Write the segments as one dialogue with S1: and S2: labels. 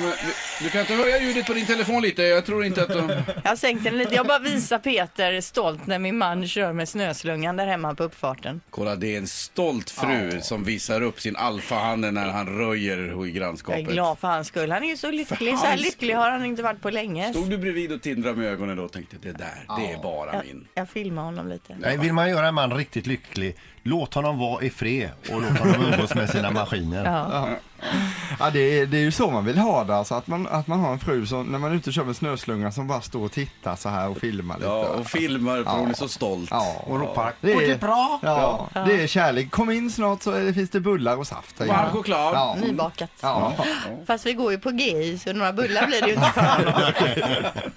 S1: men du kan inte höja ljudet på din telefon lite. Jag tror inte att de...
S2: Jag sänkte den lite. Jag bara visar Peter stolt när min man kör med snöslungan där hemma på uppfarten.
S1: Kolla, det är en stolt fru som visar upp sin alfahane när han röjer i
S2: Jag är
S1: grannskapet.
S2: glad för hans skull. Han är ju så lycklig. Så
S1: hans
S2: här lycklig har han inte varit på länge.
S1: Stod du bredvid och tindrade med ögonen då och tänkte det där, det är bara min.
S2: Jag filmar honom lite.
S3: Nej, vill man göra en man riktigt lycklig, låt honom vara i fred och låt honom umgås med sina maskiner.
S2: Ja.
S4: Ja, det, är, det är ju så man vill ha det, alltså, att, man, att man har en fru som, när man är ute och kör med snöslungan, som bara står och tittar så här och filmar lite.
S1: Ja,
S4: va?
S1: och filmar för hon är så stolt.
S4: Ja,
S3: Och ropar
S4: det
S3: "Går
S4: är
S3: det bra?”
S4: Ja, det är kärlek. Kom in snart så är det, finns det bullar och saft. där
S1: Varm
S4: inne.
S1: choklad.
S4: Ja.
S2: Nybakat.
S4: Ja.
S2: Fast vi går ju på GI så några bullar blir det ju inte för honom.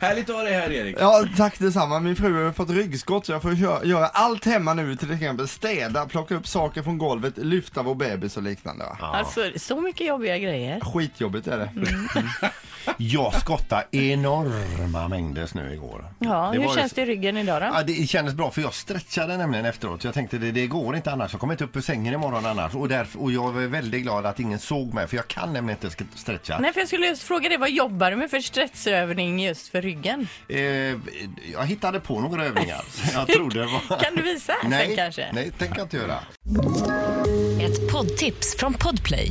S1: Härligt att ha dig här Erik.
S4: ja, tack detsamma. Min fru har fått ryggskott så jag får göra, göra allt hemma nu, till exempel städa, plocka upp saker från golvet, lyfta vår bebis och liknande. va?
S2: Alltså så mycket jobbiga grejer.
S4: Skitjobbigt är det.
S3: Jag skottade enorma mängder snö igår.
S2: Ja,
S3: var
S2: hur
S3: ju-
S2: känns det i ryggen idag då?
S3: Ja, det kändes bra för jag stretchade nämligen efteråt. Jag tänkte det, det går inte annars. Jag kommer inte upp ur sängen imorgon annars. Och, därför, och jag var väldigt glad att ingen såg mig för jag kan nämligen inte sk- stretcha.
S2: Nej, för jag skulle just fråga dig, vad jobbar du med för stressövning just för ryggen?
S3: Eh, jag hittade på några övningar som jag trodde var...
S2: Kan du visa sen kanske?
S3: nej, tänker jag inte göra.
S5: Ett poddtips från Podplay.